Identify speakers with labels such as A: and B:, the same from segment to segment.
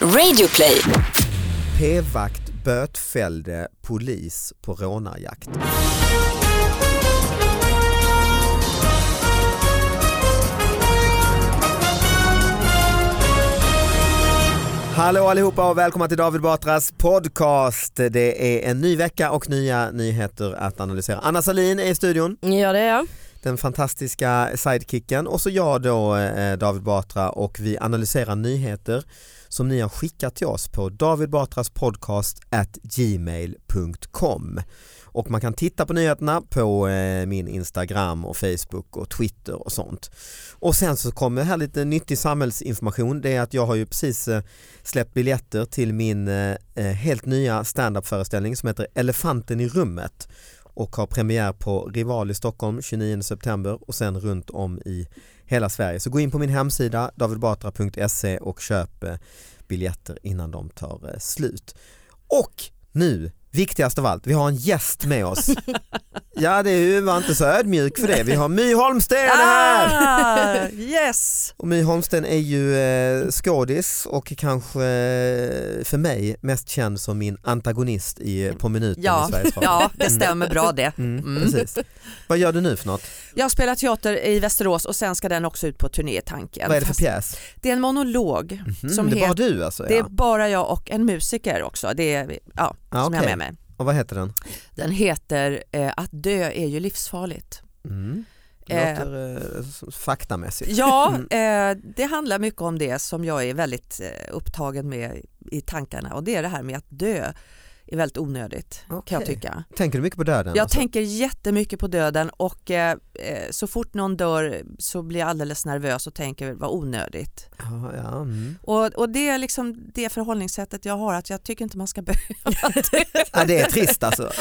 A: Radioplay.
B: P-vakt bötfällde polis på rånarjakt. Hallå allihopa och välkomna till David Batras podcast. Det är en ny vecka och nya nyheter att analysera. Anna Salin är i studion,
C: Ja det är jag.
B: den fantastiska sidekicken och så jag då eh, David Batra och vi analyserar nyheter som ni har skickat till oss på David Batras podcast at gmail.com och man kan titta på nyheterna på eh, min Instagram och Facebook och Twitter och sånt. Och sen så kommer här lite nyttig samhällsinformation. Det är att jag har ju precis eh, släppt biljetter till min eh, eh, helt nya standup-föreställning som heter Elefanten i rummet och har premiär på Rival i Stockholm 29 september och sen runt om i hela Sverige. Så gå in på min hemsida davidbatra.se och köp eh, biljetter innan de tar eh, slut. Och nu, viktigast av allt, vi har en gäst med oss. Ja, det är ju, var inte så ödmjuk för det. Vi har My Holmsten här!
D: Ah, yes!
B: Och My Holmsten är ju eh, skådis och kanske eh, för mig mest känd som min antagonist i eh, På minuten i
D: Ja,
B: Sveriges Radio.
D: ja, det stämmer bra det.
B: Mm,
D: Mm.
B: Precis. Vad gör du nu för något?
D: Jag spelar teater i Västerås och sen ska den också ut på turné i tanken.
B: Vad är det för
D: Fast
B: pjäs?
D: det är en monolog.
B: Mhm,
D: som
B: det är bara
D: het-
B: du alltså?
D: Det är
B: ja.
D: bara jag och en musiker också det är, ja,
B: Ja,
D: som
B: okej.
D: jag har med mig.
B: Och vad heter den?
D: Den heter eh, Att dö är ju livsfarligt.
B: Mm.
D: Eh.
B: Låter eh, s- faktamässigt.
D: Ja,
B: Mm.
D: eh, det handlar mycket om det som jag är väldigt eh, upptagen med i tankarna och det är det här med att dö är väldigt onödigt kan
B: Okej.
D: jag tycka.
B: Tänker du mycket på döden?
D: Jag
B: alltså?
D: tänker jättemycket på döden och eh, eh, så fort någon dör så blir jag alldeles nervös och tänker vad onödigt.
B: Ja, ja, mm.
D: Och, och det är liksom det förhållningssättet jag har att jag tycker inte man ska behöva det.
B: ja, det är trist alltså.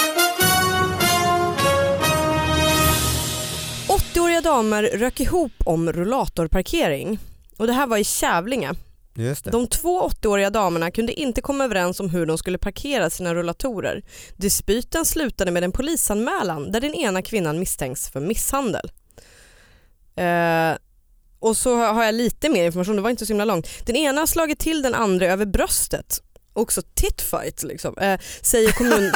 C: 80-åriga damer rök ihop om rullatorparkering. Och det här var i Kävlinge.
B: Just det.
C: De två 80-åriga damerna kunde inte komma överens om hur de skulle parkera sina rullatorer. Dispyten slutade med en polisanmälan där den ena kvinnan misstänks för misshandel. Eh, och så har jag lite mer information, det var inte så himla långt. Den ena har slagit till den andra över bröstet. Också titfight liksom, eh, säger kommun...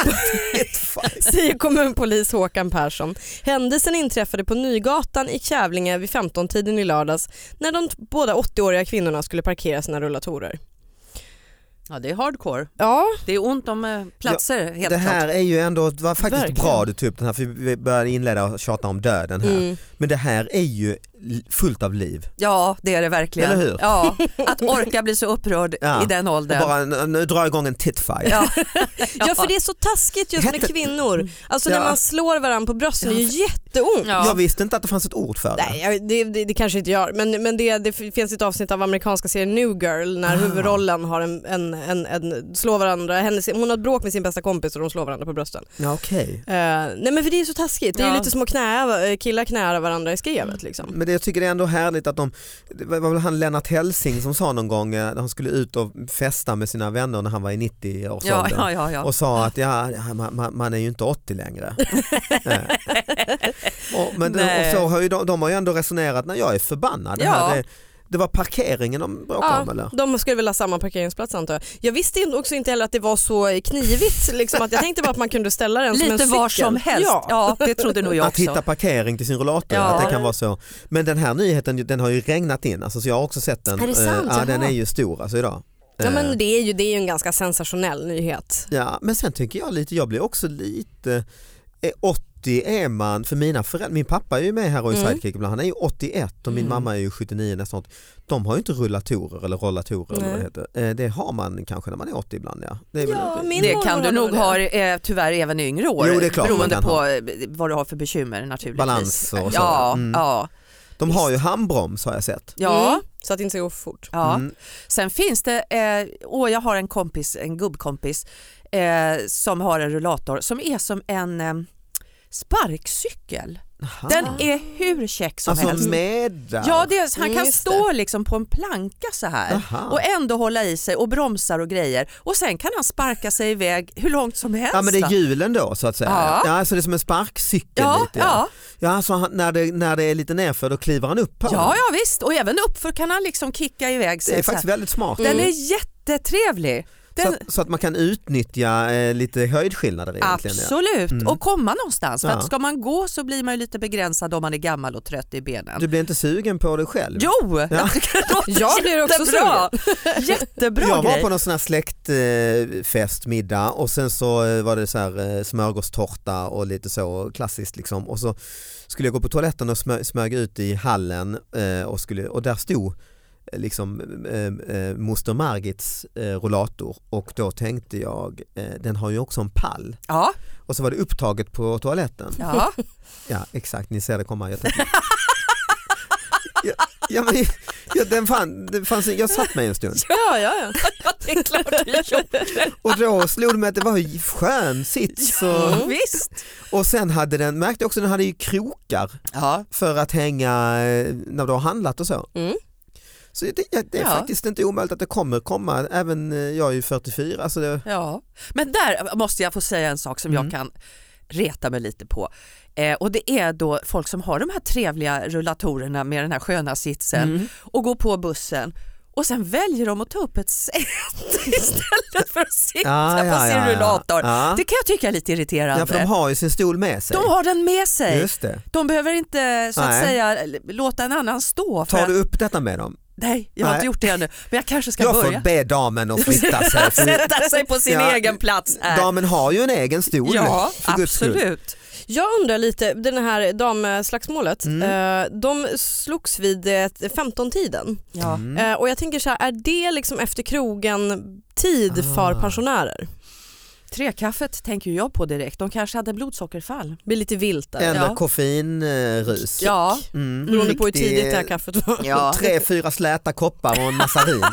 C: säger kommunpolis Håkan Persson. Händelsen inträffade på Nygatan i Kävlinge vid 15-tiden i lördags när de t- båda 80-åriga kvinnorna skulle parkera sina rullatorer.
D: Ja det är hardcore.
C: Ja,
D: Det är ont om eh, platser helt
B: Det här
D: klart.
B: är ju ändå, det var faktiskt
C: Verkligen.
B: bra du tog upp den här för vi började inleda och tjata om döden här.
C: mm.
B: Men det här är ju l- fullt av liv.
D: Ja det är det verkligen.
B: Eller hur?
D: Ja, att orka bli så upprörd
B: Ja.
D: i den
B: Och
D: åldern.
B: bara nu- nu drar jag igång en titfight.
D: Ja.
C: ja för det är så taskigt just med
B: Jätte-
C: kvinnor. Alltså
B: Ja.
C: när man slår varandra på brösten, det är ju jätteont.
D: Ja.
B: Jag visste inte att det fanns ett ord för det.
C: Nej, jag- det, det, det kanske inte gör, men, men det, det f- finns ett avsnitt av amerikanska serien New Girl när
B: Ah.
C: huvudrollen har en, en, en, en, slår varandra, hennes, hon har ett bråk med sin bästa kompis och de slår varandra på brösten.
B: Ja, okej.
C: Eh, nej men för det är så taskigt, det är
D: Ja.
C: lite som att knä, eh, killar knära varandra i skrevet liksom.
B: Men det, jag tycker det är ändå härligt att de, det var väl han Lennart Helsing som sa någon gång eh, när han skulle ut och festa med sina vänner när han var i 90 års
D: Ja,
B: ålder.
D: ja, ja, ja.
B: och sa att ja, ja, man, man, man är ju inte 80 längre. Nej. och, men, och
D: Nej.
B: så har ju de, de har ju ändå resonerat när jag är förbannad. Det, här,
D: Ja.
B: det, det var parkeringen de bråkade om eller?
C: Ja, de skulle väl ha samma parkeringsplats antar jag. Jag visste inte- också inte heller att det var så knivigt, liksom, att jag tänkte bara att man kunde ställa den som en
D: Lite
C: cykel.
D: var som helst.
C: Ja.
D: Ja. det trodde nog jag
B: Att
D: också.
B: hitta parkering till sin rullator,
D: Ja.
B: att det kan vara så. Men den här nyheten den har ju regnat in, alltså, så jag har också sett den.
C: Är det sant?
B: Eh, ja, den
C: Jaha.
B: är ju stor alltså, idag.
C: Ja,
B: Eh,
C: men det, är ju, det är ju en ganska sensationell nyhet.
B: Ja, men sen tycker jag lite, jag blir också lite eh, 80 är man, för mina föräldrar, min pappa är ju med här och är
C: Mm.
B: sidekick ibland, han är ju 81 och min
D: Mm.
B: mamma är ju 79 nästan. 80. De har ju inte rullatorer eller rollatorer eller vad det heter. Eh, Det har man kanske när man är 80 ibland ja. Det är väl-
C: Ja, min-
D: Det kan
C: mormor
D: du nog
C: hade
D: ha eh, tyvärr även i yngre år
B: Jo, det är klart man
D: beroende
B: kan
D: på
B: ha.
D: eh, vad du har för bekymmer naturligtvis.
B: Balans och så.
D: Ja,
B: Mm.
D: ja,
B: De har ju handbroms har jag sett.
D: ja.
C: Mm, så att det inte ska gå för fort.
D: Ja.
B: Mm.
D: Sen finns det, eh, åh jag har en kompis, en gubbkompis eh, som har en rullator som är som en eh, sparkcykel.
B: Aha.
D: Den är hur käck som
B: Ah. alltså
D: helst.
B: med där.
D: Ja, det är, han
C: Mm,
D: kan
C: just
D: stå liksom på en planka så här
B: Aha.
D: och ändå hålla i sig och bromsar och grejer och sen kan han sparka sig iväg hur långt som helst.
B: Ja men det är
D: va?
B: hjulen då så att säga. Ja.
D: Ja.
B: så det är som en sparkcykel
D: ja,
B: lite.
D: ja.
B: ja så han, när, det, när det är lite nerför då kliver han upp. här.
D: Ja, ja visst och även uppför kan han liksom kicka iväg sig.
B: det är
D: så här.
B: faktiskt väldigt smart.
D: Den
C: Mm.
D: är jätte jättetrevlig. Den,
B: Så, att, så att man kan utnyttja eh, lite höjdskillnader egentligen. ja.
D: absolut,
B: Mm.
D: och komma någonstans. För
B: Ja.
D: att ska man gå så blir man ju lite begränsad om man är gammal och trött i benen.
B: Du blir inte sugen på dig själv?
D: Jo, jag tycker det låter
C: Jag blir också
D: jättebra. Jättebra
B: jag var
D: grej.
B: på någon sån här släktfest, eh, middag och sen så eh, var det så här eh, smörgåstårta och lite så klassiskt liksom. Och så skulle jag gå på toaletten och smö- smög ut i hallen eh, och, skulle, och där stod eh, liksom eh, eh, moster Margits eh, rollator och då tänkte jag eh, den har ju också en pall
D: Ja,
B: och så var det upptaget på toaletten.
D: ja.
B: Ja exakt, ni ser det komma. Jag tänkte... ja, ja, men, ja, den fan, den fanns, jag satt mig en stund.
C: Ja, ja, ja.
D: det är klart du gjorde.
B: Och då slog det mig att det var en skön sits. Och,
D: Visst.
B: och sen hade den, märkte jag också, den hade ju krokar
D: Ja.
B: för att hänga eh, när du har handlat och så.
C: Mm.
B: Så det, det är
D: Ja.
B: faktiskt inte omöjligt att det kommer komma, även eh, jag är ju 44. Alltså det,
D: Ja, men där måste jag få säga en sak som
B: Mm.
D: jag kan reta mig lite på. Eh, och det är då folk som har de här trevliga rullatorerna med den här sköna sitsen
B: Mm.
D: och går på bussen och sen väljer de att ta upp ett säte istället för att sitta
B: Ja, ja,
D: på sin
B: ja, ja.
D: rullator.
B: Ja.
D: Det kan jag tycka är lite irriterande.
B: Ja, för de har ju sin stol med sig.
D: de har den med sig.
B: Just det.
D: De behöver inte så att
B: Nej.
D: säga låta en annan stå. För
B: Tar du
D: att,
B: upp detta med dem?
D: nej, jag har
B: Nej.
D: inte gjort det ännu. Men jag kanske ska
B: Jag
D: börja.
B: får be damen att flytta sig. för-
D: Sätta sig på sin
B: Ja.
D: egen plats här.
B: Damen har ju en egen stol.
D: Ja,
B: för guds skull.
D: absolut.
C: Jag undrar lite, den här damslagsmålet,
B: Mm.
C: eh, de slogs vid eh, 15-tiden
D: Ja.
B: Mm.
C: eh, och jag tänker så här, är det liksom efter krogen tid för
B: Ah.
C: pensionärer?
D: Trekaffet tänker ju jag på direkt. De kanske hade blodsockerfall.
C: blir lite vilt där.
B: Eller
D: Ja.
B: koffeinrus.
D: Ja,
B: Mm.
C: Beroende på hur
B: Riktig-
C: tidigt det här kaffet var.
D: Ja.
B: Alltså, Tre, fyra släta koppar och en massa vin. Eh,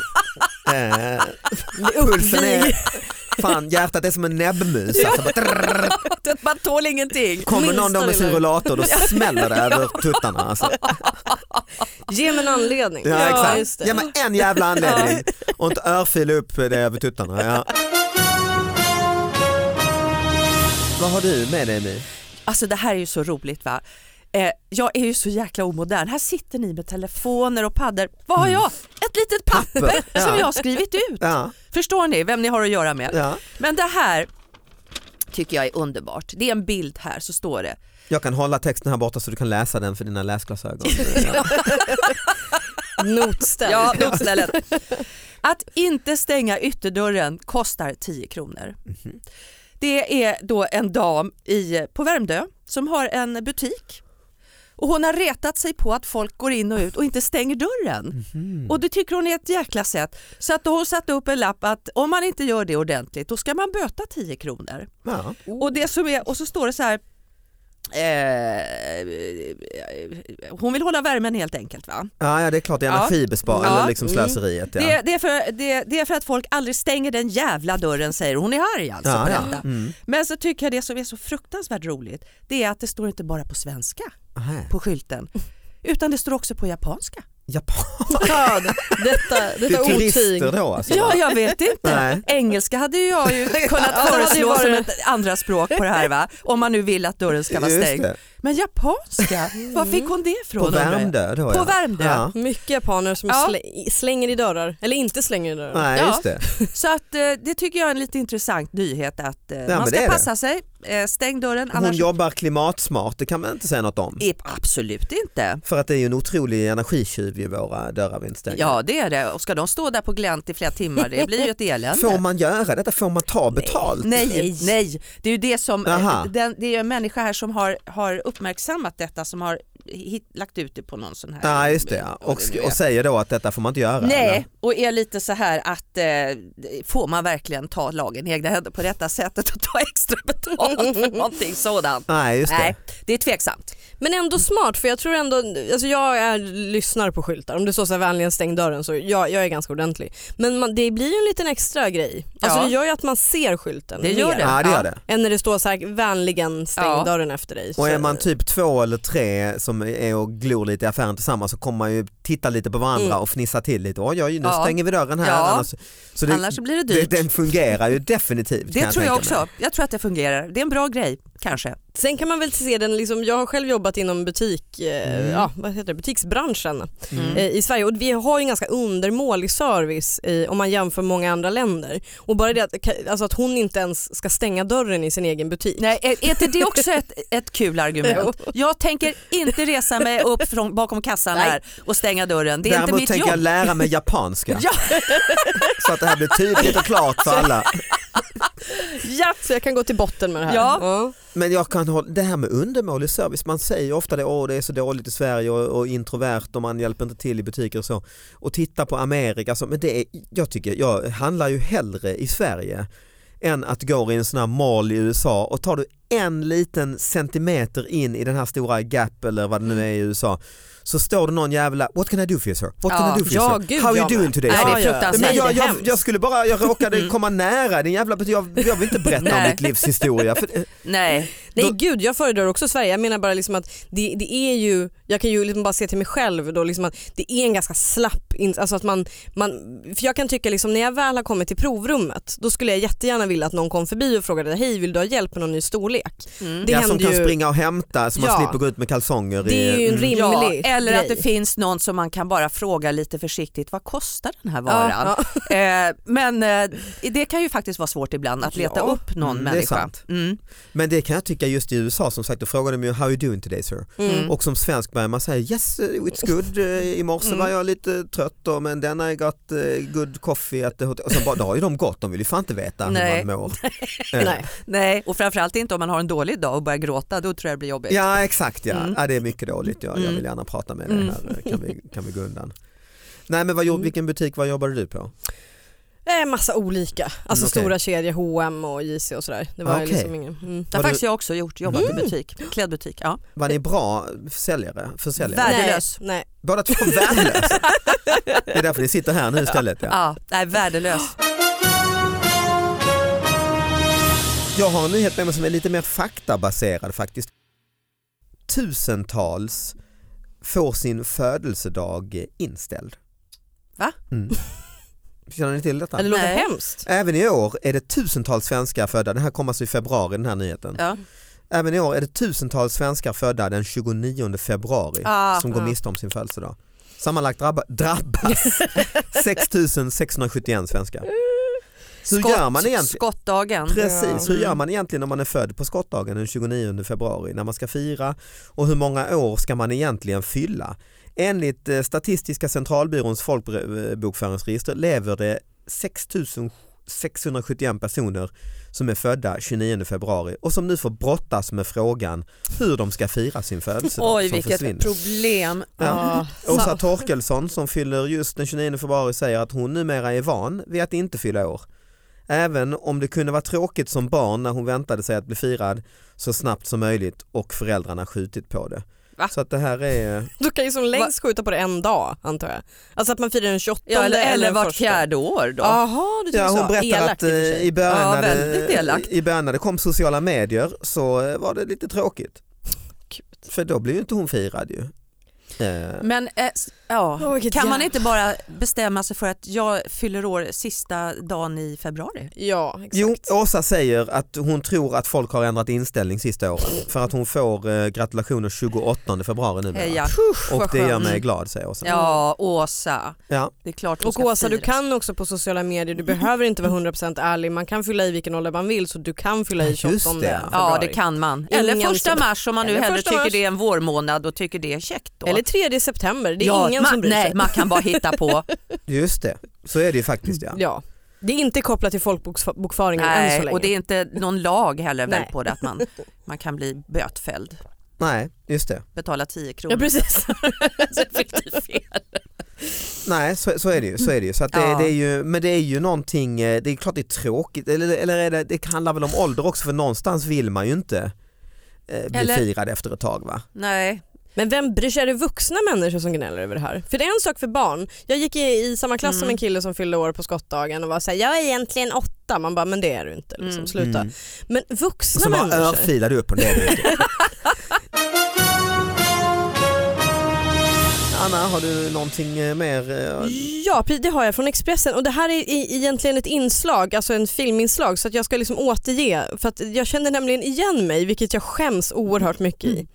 C: Det är
B: pulsen är,
C: uppvig-
B: fan hjärtat är som en näbbmus. Alltså, bara trrrr.
D: man tål ingenting.
B: kommer någon då med sin
C: lilla.
B: rullator då smäller det över tuttarna. Alltså.
C: Ge mig en anledning.
B: Ja,
C: just
B: exakt.
C: det.
B: Ja, men en jävla anledning och inte örfil upp det över tuttarna. Ja. Vad har du med dig nu?
D: Alltså det här är ju så roligt va. Eh, jag är ju så jäkla omodern. Här sitter ni med telefoner och paddor. Vad har jag? Ett litet papper
B: Mm. Ja.
D: som jag har skrivit ut.
B: Ja,
D: Förstår ni vem ni har att göra med?
B: ja.
D: Men det här tycker jag är underbart. Det är en bild här så står det.
B: Jag kan hålla texten här borta så du kan läsa den för dina läsglasögon. Ja.
C: Notställ.
D: Ja, notstället. Att inte stänga ytterdörren kostar 10 kronor. Det är då en dam i, på Värmdö som har en butik och hon har retat sig på att folk går in och ut och inte stänger dörren. Och det tycker hon är ett jäkla sätt. Så att då har hon satt upp en lapp att om man inte gör det ordentligt då ska man böta 10 kronor.
B: Ja.
D: Och, det som är, och så står det så här eh, hon vill hålla värmen helt enkelt va?
B: Ja, ja, det är klart det är
D: Ja.
B: energibesparing
D: Ja. Mm.
B: eller liksom slöseriet. Ja.
D: Det, det, är för, det, det är för att folk aldrig stänger den jävla dörren säger hon. Hon är arg alltså
B: ja,
D: på
B: ja.
D: detta.
B: Mm.
D: Men så tycker jag det som är så fruktansvärt roligt det är att det står inte bara på svenska
B: Aha.
D: på skylten utan det står också på japanska.
B: Japan.
C: Ja, detta
B: Det är
C: detta otyg.
B: turister då alltså?
D: Ja, jag vet inte.
B: Nej.
D: Engelska hade ju jag ju kunnat
C: Ja, det hade ju
D: föreslå som
C: varit-
D: ett andra språk på det här va? Om man nu vill att dörren ska vara
B: Just
D: stängd.
B: det.
D: Men japanska, var fick hon det ifrån?
B: På
D: undrar jag?
B: Värmdö då
D: På Värmdö.
B: Ja.
C: Mycket japaner som
D: Ja.
C: slä- slänger i dörrar, eller inte slänger i dörrar.
B: Nej
D: Ja.
B: just det.
D: Så att, eh, det tycker jag är en lite intressant nyhet att eh, man
B: det är
D: ska
B: det.
D: passa sig. Eh, stäng dörren
B: Hon
D: annars
B: jobbar klimatsmart, det kan man inte säga något om.
D: I- Absolut inte.
B: För att det är ju en otrolig energitjuv i våra dörrar vi inte stänger.
D: Ja det är det. Och ska de stå där på glänt i flera timmar det blir ju ett elände.
B: Får man göra detta? Får man ta betalt?
D: Nej, nej, det är ju det som, eh,
B: Aha.
D: den, det är ju en människa här som har, har uppmärksammat detta som har hit, lagt ut det på någon sån här.
B: Ja just det ja. och,
D: vad det nu är.
B: och säger då att detta får man inte göra.
D: Nej,
B: eller?
D: och är lite så här att eh, får man verkligen ta lagen i egna händer på detta sättet och ta extra betalt för någonting sådant?
B: Nej just det.
D: Nej, det är tveksamt.
C: Men ändå smart för jag tror ändå, alltså jag är, lyssnar på skyltar, om det står så här vänligen stäng dörren så jag, jag är ganska ordentlig. Men man, det blir ju en liten extra grej. Alltså
D: Ja.
C: det gör ju att man ser skylten
D: Det gör
C: mer
D: det.
B: Ja det gör
D: Ja.
B: det.
C: Än när det står så här vänligen stäng
D: Ja.
C: dörren efter dig.
B: Och
C: Så-
B: är man typ två eller tre som är och glor lite i affären tillsammans så kommer man ju titta lite på varandra
C: Mm.
B: och fnissa till lite. Oj, oj, nu
D: Ja.
B: stänger vi dörren här.
D: Ja.
B: Annars, så det,
D: Annars blir det
B: det,
D: dyrt.
B: den fungerar ju definitivt. kan
D: Det tror jag
B: tänka mig.
D: också. Jag tror att det fungerar. Det är en bra grej, kanske.
C: Sen kan man väl se den, liksom, jag har själv jobbat inom butik, eh,
B: Mm.
C: ja, vad heter det, butiksbranschen
D: Mm.
C: eh, i Sverige och vi har ju en ganska undermålig service i, om man jämför många andra länder. Och bara det att, ka- alltså att hon inte ens ska stänga dörren i sin egen butik.
D: Nej, är, är inte det också ett, ett kul argument? Jag tänker inte resa mig upp från, bakom kassan
C: Nej.
D: här och stänga dörren. Det är
B: Däremot
D: inte mitt
B: tänker jag
D: jobb.
B: lära mig japanska.
D: Ja. Alltså,
B: Så att det här blir tydligt och klart för alla.
C: Japp, så jag kan gå till botten med det här.
D: Ja.
B: Men jag kan hålla, det här med undermålig service, man säger ju ofta det, åh det är så dåligt i Sverige och, och introvert och man hjälper inte till i butiker och så. Och titta på Amerika, så, men det är, jag tycker, jag handlar ju hellre i Sverige än att gå i en sån här mall i USA och tar du en liten centimeter in i den här stora Gap eller vad det nu är i USA så står det någon jävla, what can I do for you sir? What can
D: Ja,
B: I do for you
C: ja,
B: sir?
C: gud,
B: How are you
C: jag med.
B: doing today
D: Nej,
B: sir?
D: det
B: Men
D: är fruktansvärt.
B: jag, jag,
C: hemskt. Mm.
B: jag skulle bara, jag råkade komma nära din jävla bety- jag, jag vill inte berätta om
D: Nej.
B: mitt livs historia. För,
D: Nej.
C: Nej
B: Då-
C: gud, jag föredrar också Sverige. Jag menar bara liksom att det, det är ju, jag kan ju liksom bara se till mig själv då liksom att det är en ganska slapp, in, alltså att man, man, för jag kan tycka liksom när jag väl har kommit till provrummet då skulle jag jättegärna vilja att någon kom förbi och frågade hej vill du ha hjälp med någon ny storlek?
D: Mm.
C: Det
B: ja, som
C: händer
B: kan
C: ju-
B: springa och hämta så man
C: Ja.
B: slipper gå ut med kalsonger.
C: Det är
B: i,
C: ju en
B: mm.
C: rimlig
D: Ja, eller att det
C: grej.
D: finns någon som man kan bara fråga lite försiktigt, vad kostar den här varan?
C: Ja, ja.
D: Eh, men eh, det kan ju faktiskt vara svårt ibland att leta
B: Ja.
D: upp någon
B: Mm, det är
D: människa.
B: sant.
D: Mm.
B: Men det kan jag tycka just i USA som sagt, då frågade de ju how you doing today sir?
C: Mm.
B: Och som svensk börjar man säga yes eh, it's good, Eh, i morse
D: Mm.
B: var jag lite trött och, men then I got eh, good coffee at the hotel. Och sen bara, då har ju de gått, de vill ju fan inte veta
D: Nej.
B: hur man mår. Eh,
C: Nej.
D: Nej, och framförallt inte om man har en dålig dag och börjar gråta, då tror jag det blir jobbigt.
B: Ja exakt ja,
D: Mm.
B: ja det är mycket dåligt, jag, jag
D: Mm.
B: vill gärna prata med dig
D: Mm.
B: här, Eh, kan vi, kan vi gå undan. Nej men vad,
C: Mm.
B: gjorde- vilken butik, vad jobbade du på?
C: Eh, massa olika, alltså
B: Mm, okej.
C: stora kedjor, H&M och JC och sådär. Det var
B: Ah, okej.
C: liksom ingen, mm.
D: Det
B: Var
D: har faktiskt jag också gjort, jobbat
B: Mm.
D: i butik, klädbutik. Ja.
B: Var ni bra säljare? Försäljare?
D: Vär- Värdelös.
C: Nej, nej.
B: Båda två värdelösa. Det är därför ni sitter här nu istället. Ja.
D: Ja, nej, värdelös.
B: Jag har en nyhet med mig som är lite mer faktabaserad faktiskt. Tusentals får sin födelsedag inställd.
D: Va?
B: Mm. Känner ni till detta?
C: det låter
D: Nej.
C: hemskt.
B: Även i år är det tusentals svenskar födda, den här kommer alltså i februari den här nyheten.
D: Ja.
B: Även i år är det tusentals svenskar födda den 29 februari
D: Ah,
B: som går
C: ah.
B: miste om sin födelsedag. Sammanlagt drabba, drabbas 6671 svenskar. Så Hur gör man egentligen?
D: Skottdagen.
B: Precis,
C: Ja.
D: Mm.
B: hur gör man egentligen om man är född på skottdagen den 29 februari när man ska fira och hur många år ska man egentligen fylla? Enligt eh, Statistiska centralbyråns folkbokföringsregister lever det 6 671 personer som är födda 29 februari och som nu får brottas med frågan hur de ska fira sin födelsedag
D: Oj,
B: som försvinner.
D: vilket problem.
B: Ja.
C: Ah,
B: Åsa Torkelsson som fyller just den 29 februari säger att hon numera är van vid att inte fylla år. Även om det kunde vara tråkigt som barn när hon väntade sig att bli firad så snabbt som möjligt och föräldrarna skjutit på det.
D: Va?
B: Så att det här är...
C: Du kan ju som längst skjuta på det en dag antar jag. Alltså att man firar den 28
D: Ja, eller, eller
C: den
D: vart
C: första.
D: fjärde år då.
C: Jaha, du tycker
B: Ja,
C: så.
B: hon berättar
C: Elakt
B: att
C: i och för
B: eh,
C: sig.
B: i början,
D: Ja,
B: när
D: väldigt
B: det,
D: elakt.
B: i början när det kom sociala medier så eh, var det lite tråkigt.
C: Gud.
B: För då blev ju inte hon firad ju. Eh,
D: Men eh, s- ja.
C: Åh, vilket
D: kan man
C: jävla-
D: inte bara bestämma sig för att jag fyller år sista dagen i februari?
C: Ja, exakt.
B: Jo, Åsa säger att hon tror att folk har ändrat inställning sista
D: Mm.
B: åren för att hon får eh, gratulationer 28 februari numera.
D: Heja.
B: Och det gör mig
D: Mm.
B: glad säger Åsa.
D: Ja, Åsa.
B: Ja.
D: Det är klart hon
C: Och
D: ska
C: Åsa, du
D: firas.
C: kan också på sociala medier, du behöver inte vara 100% ärlig, man kan fylla i vilken ålder man vill så du kan fylla i
B: Just
C: 28
B: det.
C: februari.
D: Ja, det kan man. Eller
C: Ingen
D: första
C: som-
D: mars om man nu
C: Eller
D: hellre
C: första
D: tycker
C: mars.
D: det är en vårmånad och tycker det är käckt. Då.
C: Eller 3 september, det är
D: ja,
C: ingen
D: man,
C: som bryr sig.
D: Nej, man kan bara hitta på.
B: Just det, så är det ju faktiskt
D: Mm.
B: ja.
C: ja. Det är inte kopplat till folkbokföringen än så
D: nej,
C: länge.
D: och det är inte någon lag heller väl
C: Nej.
D: på det att man, man kan bli bötfälld.
B: Nej, just det.
D: Betala 10
C: Ja
D: kronor.
C: precis.
D: Så fick du fel.
B: Nej, så, så är det ju. Så är det ju. Så att det,
D: Ja.
B: det är ju men det är ju någonting, eh, det är klart det är tråkigt, eller, eller är det, det handlar väl om ålder också för någonstans vill man ju inte eh, bli
D: Eller-
B: firad efter ett tag va?
D: Nej.
C: Men vem bryr sig? Är det vuxna människor som gnäller över det här? För det är en sak för barn. Jag gick i, i samma klass som
D: Mm.
C: en kille som fyllde år på skottdagen och var såhär, jag är egentligen åtta. Man bara, men det är du inte. Liksom,
D: Mm.
C: Sluta.
B: Mm.
C: Men vuxna
B: Som bara
C: människor.
B: örfilade upp och ner. Anna, har du någonting eh, mer? eh,
C: Ja, precis, det har jag från Expressen och det här är i- egentligen ett inslag, alltså en filminslag så att jag ska liksom återge för att jag kände nämligen igen mig vilket jag skäms oerhört mycket i.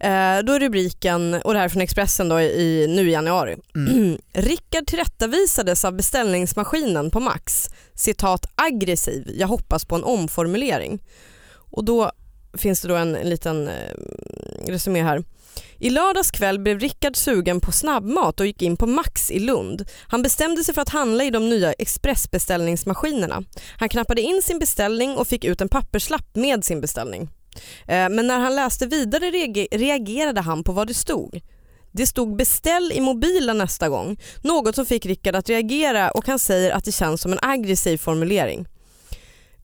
C: Eh, då är rubriken, och det här är från Expressen då i, nu i januari. Rickard tillrättavisades av beställningsmaskinen på Max, citat aggressiv, jag hoppas på en omformulering. Och då finns det då en, en liten eh, resumé här. I lördags kväll blev Rickard sugen på snabbmat och gick in på Max i Lund. Han bestämde sig för att handla i de nya expressbeställningsmaskinerna. Han knappade in sin beställning och fick ut en papperslapp med sin beställning. Eh, Men när han läste vidare reage- reagerade han på vad det stod. Det stod beställ i mobilen nästa gång, något som fick Rickard att reagera och han säger att det känns som en aggressiv formulering.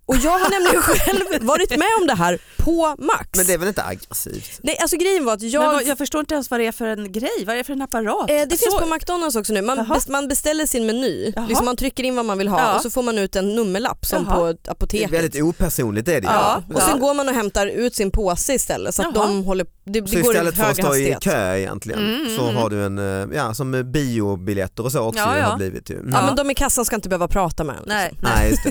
C: Och jag har nämligen själv varit med om det här på Max.
B: Men det är väl inte aggressivt?
C: Nej, alltså grejen var att jag...
D: Jag, men vad, jag förstår inte ens vad det är för en grej, vad är det för en apparat?
C: Eh, det finns
D: Så-
C: på McDonalds också nu. Man,
D: Jaha.
C: bes- man beställer sin meny.
D: Jaha.
C: Liksom man trycker in vad man vill ha
D: Ja.
C: och så får man ut en nummerlapp som
D: Jaha.
C: på ett
B: Det är
C: apoteket.
B: väldigt opersonligt är det ju.
D: Ja,
C: Och sen
D: Ja.
C: går man och hämtar ut sin påse istället så att
D: Jaha.
C: de håller... Det,
B: Så
C: det går i
B: istället för att
C: hög
B: stå i
C: hastighet.
B: kö egentligen
D: Mm,
B: så
D: mm,
B: har du en, eh, ja som eh, biobiljetter och så också
D: Ja,
B: ju har
D: ja.
B: blivit ju. Mm.
C: Ja, men de i kassan ska inte behöva prata med en. liksom.
D: Nej.
B: Nej, just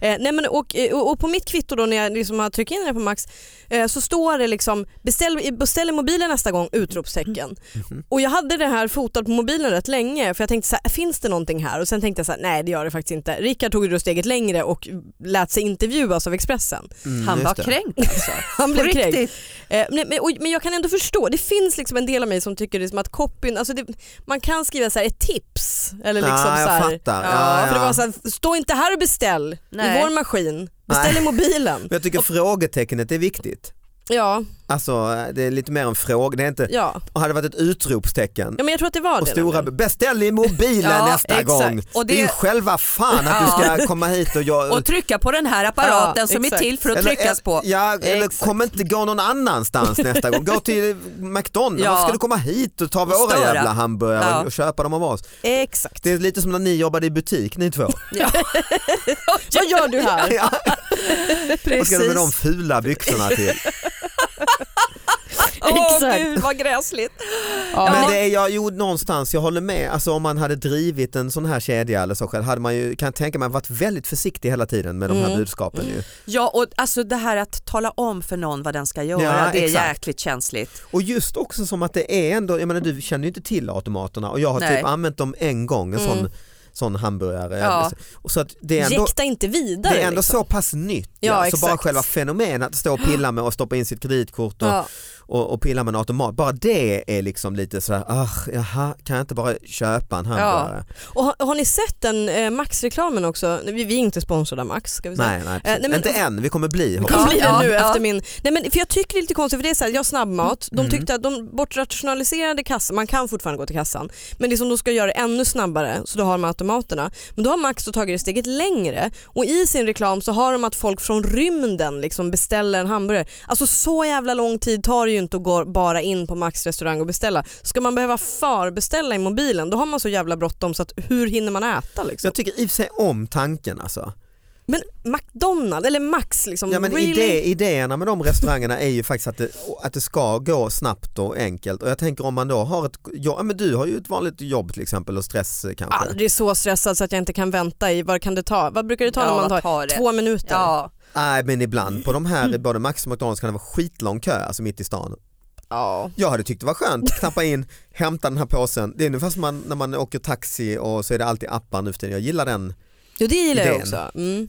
B: det.
C: Eh, nej men, och, och, och på mitt kvitto då när jag liksom har tryckt in det på Max eh, så står det liksom beställ, beställ i mobilen nästa gång! utropstecken.
D: Mm-hmm.
C: Och jag hade det här fotat på mobilen rätt länge för jag tänkte så här, finns det någonting här? Och sen tänkte jag så här, nej det gör det faktiskt inte. Rickard tog ju då steget längre och lät sig intervjuas av Expressen.
B: Mm,
D: Han
B: just
D: var
B: det.
D: kränkt alltså.
C: Han blev
D: På
C: kränkt.
D: riktigt.
C: Eh, nej, men, och, men jag kan ändå förstå, det finns liksom en del av mig som tycker liksom att copyn, alltså det, man kan skriva så här ett tips eller liksom
B: ja,
C: så här,
B: jag fattar.
D: Ja,
B: Ja, ja.
C: För det var så här, stå inte här och beställ i
D: Nej.
C: vår maskin, beställ i mobilen.
B: Men jag tycker frågetecknet är viktigt.
C: Ja,
B: Alltså det är lite mer en fråga, det är inte,
C: ja.
B: och hade det varit ett utropstecken
C: ja men jag tror att det var
B: och
C: det.
B: stora,
C: nämligen.
B: beställ i mobilen
D: Ja,
B: nästa
C: exakt.
B: gång.
D: Och
B: det... är ju
D: det-
B: själva fan att
D: Ja.
B: du ska komma hit och jag...
D: Och trycka på den här apparaten
C: Ja,
D: som
C: exakt.
D: är till för att tryckas på.
B: Ja, eller
D: Exakt.
B: kom inte, gå någon annanstans nästa gång. Gå till McDonalds,
D: Ja.
B: varför ska du komma hit och ta våra
D: störa.
B: jävla hamburgare
D: Ja.
B: och köpa dem av oss?
C: Exakt.
B: Det är lite som när ni jobbade i butik ni två.
D: Ja,
C: Vad gör du här?
B: Ja. Vad ska du
D: precis.
B: med de fula byxorna till?
D: Åh
C: Exakt.
D: gud vad gräsligt.
C: Ja,
B: Men
C: men-
B: det är jag, jo, någonstans, jag håller med, alltså, om man hade drivit en sån här kedja eller så själv hade man ju, kan jag tänka mig, varit väldigt försiktig hela tiden med de här
C: Mm.
B: budskapen. Ju.
D: Ja och alltså det här att tala om för någon vad den ska göra,
B: Ja,
D: det är
B: exakt.
D: jäkligt känsligt.
B: Och just också som att det är ändå, jag menar du känner ju inte till automaterna och jag har
D: Nej.
B: typ använt dem en gång, en sån,
C: Mm.
B: sån hamburgare.
D: Ja.
B: Och så att det är ändå,
C: Jäkta inte vidare.
B: det är ändå
C: liksom.
B: så pass nytt,
C: Ja,
B: ja, så bara
C: exakt.
B: själva fenomenet att stå och pilla med och stoppa in sitt kreditkort och,
C: Ja.
B: och, och pilla med en automat, bara det är liksom lite sådär, ah, jaha, kan jag inte bara köpa en hamburgare?
C: Och har, har ni sett den eh, Max-reklamen också? Vi, vi är inte sponsrade av Max ska vi säga.
B: Nej, nej,
C: Eh, nej, men-
B: inte än, vi kommer bli
C: Det kommer
B: hoppas
C: bli
D: Ja,
C: det nu
D: ja.
C: efter min... Nej, men, för jag tycker det är lite konstigt för det är så här, jag har snabbmat,
B: Mm.
C: de tyckte att de bortrationaliserade kassan, man kan fortfarande gå till kassan, men liksom de ska göra det ännu snabbare så då har de automaterna. Men då har Max då tagit det steget längre och i sin reklam så har de att folk från rymden liksom beställer en hamburgare. Alltså så jävla lång tid tar det ju inte att gå bara in på Max restaurang och beställa. Ska man behöva förbeställa i mobilen då har man så jävla bråttom så att hur hinner man äta
B: Så
C: liksom?
B: jag tycker i och för sig om tanken alltså.
C: Men McDonalds eller Max liksom,
B: Ja, men
C: really?
B: idé, idéerna med de restaurangerna är ju faktiskt att det, att det ska gå snabbt och enkelt och jag tänker om man då har ett, ja men du har ju ett vanligt jobb till exempel och stress eh, kanske.
D: typ.
C: Aldrig så stressad så att jag inte kan vänta i, vad kan det ta? Vad brukar det ta
D: Ja,
C: när man
D: vad
C: tar,
D: tar det?
C: två minuter?
D: Ja,
B: Nej men ibland på de här, både Max och McDonalds kan det vara skitlång kö alltså mitt i stan.
C: Ja.
B: Jag hade tyckt det var skönt, knappa in, hämta den här påsen. Det är ungefär som man, när man åker taxi och så är det alltid appar nu för tiden. Jag gillar den.
C: Jo det gillar jag
B: Idén.
C: också. Mm.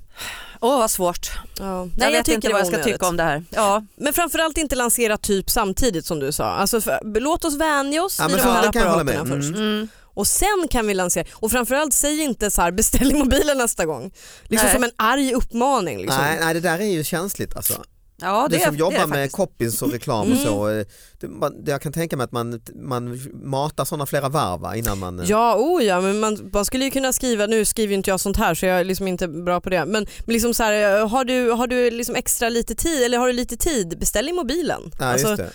D: åh vad svårt.
C: Ja. Nej,
D: Jag
C: jag,
D: vet
C: tycker
D: inte
C: det
D: vad
C: var
D: jag ska
C: onödigt.
D: tycka om det här. Ja.
C: Men framförallt inte lansera typ samtidigt som du sa. Alltså för, låt oss vänja oss
B: Ja,
C: i
B: men
C: de
B: så,
C: här
B: det kan jag hålla
C: apparaterna
B: med.
C: först.
B: Mm.
D: Mm.
C: Och sen kan vi lansera. Och framförallt säg inte så här beställ i mobilen nästa gång. Liksom
D: Nej.
C: som en arg uppmaning. Liksom.
B: Nej, nej det där är ju känsligt alltså.
D: Ja, det
B: du som
D: är,
B: jobbar
D: det är
B: med
D: faktiskt.
B: copies och reklam och så. eh, Det, man, det jag kan tänka mig att man, man matar sådana flera varv va, innan man... eh,
C: Ja, oh ja, men man, man skulle ju kunna skriva, nu skriver ju inte jag sånt här så jag är liksom inte bra på det, men, men liksom så här, har du, har du liksom extra lite tid, eller har du lite tid, beställ i mobilen.
B: Ja,
C: Alltså,
B: just det.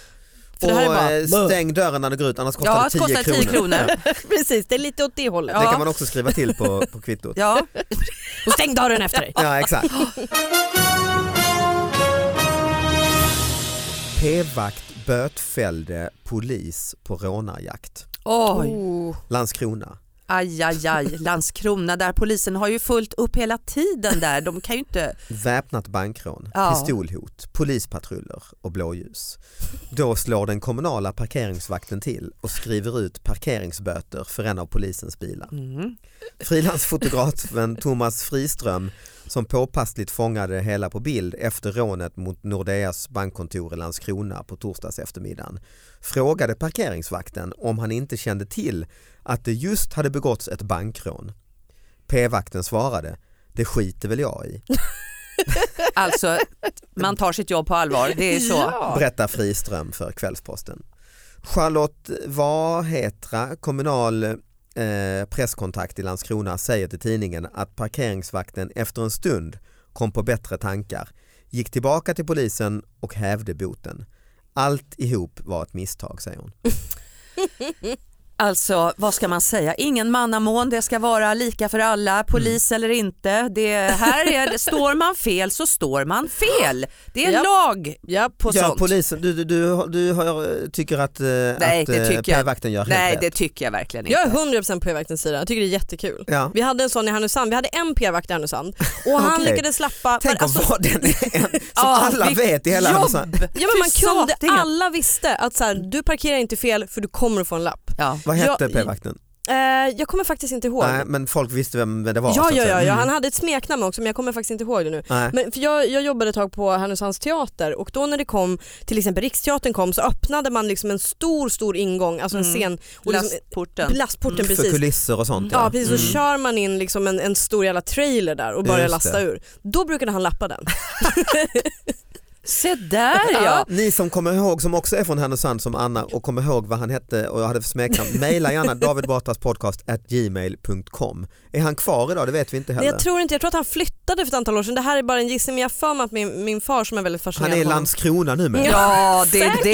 C: för det här är
B: och
C: bara-
B: eh, stäng dörren när du går ut annars kostar
D: Ja,
B: det 10
D: kostar det 10
B: kronor.
D: kronor.
B: Ja,
C: precis, det är lite åt det hållet.
B: Det
D: Ja.
B: kan man också skriva till på, på kvittot.
D: Ja.
C: Och stäng dörren efter dig.
B: Ja exakt. P-vakt bötfällde polis på rånarjakt.
D: Oj,
C: Oh.
B: Landskrona.
D: aj, aj, aj. Landskrona där polisen har ju fullt upp hela tiden där. De kan ju inte...
B: Väpnat bankrån,
D: Ja.
B: pistolhot, polispatruller och blåljus. Då slår den kommunala parkeringsvakten till och skriver ut parkeringsböter för en av polisens bilar.
D: Mm.
B: Frilansfotografen Thomas Friström som påpassligt fångade det hela på bild efter rånet mot Nordeas bankkontor i Landskrona på torsdags eftermiddagen frågade parkeringsvakten om han inte kände till att det just hade begåtts ett bankrån. P-vakten svarade, det skiter väl jag i,
D: Alltså, man tar sitt jobb på allvar. Det är så.
B: berättar Friström för Kvällsposten. Charlotte Vahetra, kommunal eh, presskontakt i Landskrona, säger till tidningen att parkeringsvakten efter en stund kom på bättre tankar, gick tillbaka till polisen och hävde boten. Allt ihop var ett misstag, säger hon.
D: Alltså vad ska man säga, ingen mannamån, det ska vara lika för alla, polis eller inte. Det här är, står man fel så står man fel. Det är
C: Japp.
D: lag
C: Japp.
D: på
B: ja,
D: sånt.
B: polisen, du, du, du, du har, tycker att, eh,
D: Nej,
B: att
D: det
B: eh,
D: tycker jag.
B: p-vakten gör helt
D: Nej
B: rätt?
D: det tycker jag verkligen inte.
C: Jag är 100% på p-vaktens sida, jag tycker det är jättekul.
B: Ja.
C: Vi hade en sån i Härnösand, vi hade en p-vakt i Härnösand och han
B: Okej.
C: lyckades lappa.
B: Tänk
C: men alltså,
B: att vara den en som
D: Ja,
B: alla
D: vilket
B: vet i hela Hansa.
D: Jobb!
C: ja, men man
D: Fy
C: kunde,
D: satingen.
C: alla visste att så här, du parkerar inte fel för du kommer att få en lapp.
D: Ja.
B: Vad hette
C: Jag-
B: p-vakten?
C: Eh, jag kommer faktiskt inte ihåg.
B: Nej, men folk visste vem det var. så
C: ja,
B: att
C: ja,
B: säga.
C: ja, ja,
B: Mm.
C: han hade ett smeknamn också men jag kommer faktiskt inte ihåg det nu.
B: Nej.
C: Men för jag, jag jobbade ett tag på Härnösands teater och då när det kom till exempel Riksteatern kom så öppnade man liksom en stor stor ingång, alltså en
D: Mm.
C: scen, och liksom,
D: Lastporten.
C: lastporten
B: Mm. För
C: precis.
B: kulisser och sånt. Mm.
C: Ja precis, så kör man in liksom en, en stor jävla trailer där och börjar
B: Just
C: lasta
B: det.
C: ur. Då brukade han lappa den.
D: Se där ja.
B: Ni som kommer ihåg, som också är från Härnösand som Anna och kommer ihåg vad han hette och jag hade för smeknamn, mejla gärna davidbatraspodcast.gmail.com. Är han kvar idag? Det vet vi inte
C: Nej,
B: heller.
C: jag tror inte, jag tror att han flyttade för ett antal år sedan. Det här är bara en gissning men jag har för mig att min, min far som är väldigt
B: Han
C: fascinerad
B: är i
C: av honom-
B: Landskrona nu men.
C: Ja,
D: Ja det är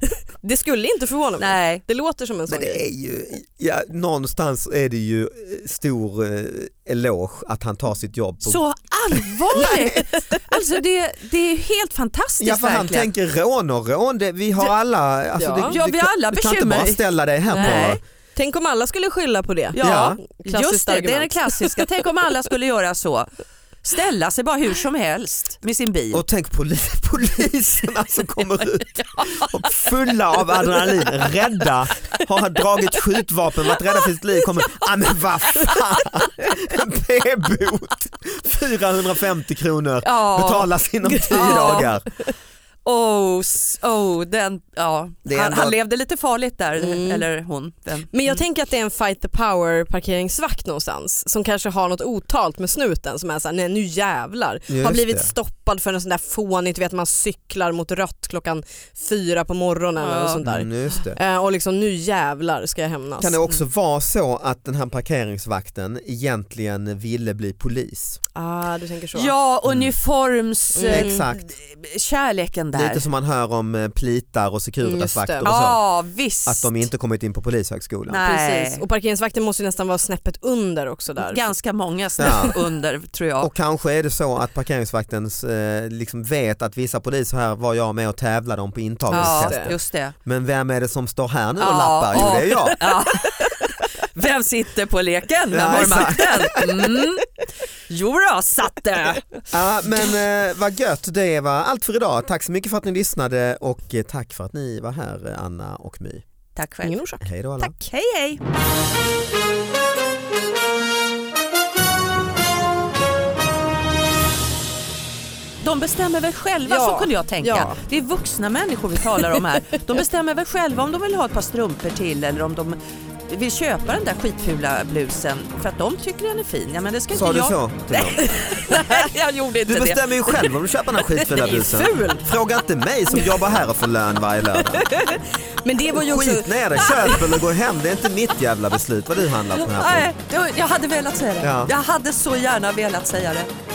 D: det.
C: Det skulle inte förvåna mig.
D: Nej.
C: Det låter som en sån
B: Men
C: grej.
B: det är ju, ja, någonstans är det ju eh, stor eh, eloge att han tar sitt jobb. På,
D: Så allvarligt. Alltså det, det är helt fantastiskt
B: ja för han
D: verkligen.
B: tänker rån och rån, det, vi har alla, alltså,
C: Ja.
B: det,
D: Ja,
B: du,
D: vi
B: kan-
D: har alla
B: du kan inte
D: bekymmer.
B: bara ställa dig här
D: Nej.
B: på.
C: Tänk om alla skulle skylla på det.
B: Ja.
C: Klassiskt
D: Just det, det är det
C: argument.
D: klassiska. Tänk om alla skulle göra så. Ställa sig bara hur som helst med sin bil.
B: Och tänk poli poliserna som kommer ut och fulla av adrenalin, rädda, har han dragit skjutvapen, varit rädda för sitt liv, kommer, ah men vad fan, en p-bot, 450 kronor,
D: Ja.
B: betalas inom 10
D: Ja.
B: dagar.
D: Oh, s- oh, den, ja.
B: Det är
D: han,
B: ändå-
D: han levde lite farligt där,
C: Mm.
D: eller hon. Den.
C: Men
B: Mm.
C: jag tänker att det är en fight the power parkeringsvakt någonstans som kanske har något otalt med snuten som är såhär, nej nu jävlar.
B: Just
C: har blivit
B: det.
C: stoppad för en sån där fånigt, du vet man cyklar mot rött klockan fyra på morgonen
D: Ja.
C: och sånt där.
B: Mm, just det.
C: Eh, och liksom nu jävlar ska jag hämnas.
B: Kan det
D: Mm.
B: också vara så att den här parkeringsvakten egentligen ville bli polis?
C: Ah, du tänker så.
D: Ja,
B: Mm.
D: uniforms...
C: Mm.
D: eh,
B: Exakt,
D: Kärleken där.
B: lite som man hör om eh, plitar och Securitasvakter och så.
D: ja, visst.
B: Att de inte kommit in på polishögskolan.
D: Nej.
C: Precis. Och parkeringsvakten måste ju nästan vara snäppet under också där.
D: Ganska många snäpp under tror jag.
B: Och kanske är det så att parkeringsvakten eh, liksom vet att vissa poliser här var jag med och tävlade om på
D: ja,
B: intagningstestet.
D: just det.
B: Men vem är det som står här nu och
D: Ja,
B: lappar? Jo
D: ja.
B: det är jag.
D: Ja. Vem sitter på leken? Vem
B: Ja,
D: har
B: exakt.
D: makten? Mm. Jo då, satt det.
B: Ja, men eh, vad gött det var allt för idag. Tack så mycket för att ni lyssnade och eh, tack för att ni var här eh, Anna och My.
D: Tack själv.
C: Ingen orsak.
B: Hej då alla.
D: Tack, hej hej. De bestämmer väl själva,
C: Ja,
D: så kunde jag tänka.
C: ja.
D: Det är vuxna människor vi talar om här. De bestämmer väl själva om de vill ha ett par strumpor till eller om de vill köpa den där skitfula blusen för att de tycker den är fin. Ja, men det ska
B: Sa du
D: inte jag...
B: så? till dem?
D: Nej, jag gjorde inte
B: Du
D: det.
B: bestämmer ju själv om du köper den här skitfina busen.
C: ful.
B: Fråga inte mig som jobbar här och får lön varje lördag.
C: Men det var ju också...
B: Skit ner det, köp eller gå hem. Det är inte mitt jävla beslut vad du handlar på den här punkten.
D: Nej, det var- jag hade velat säga det.
B: Ja.
D: Jag hade så gärna velat säga det.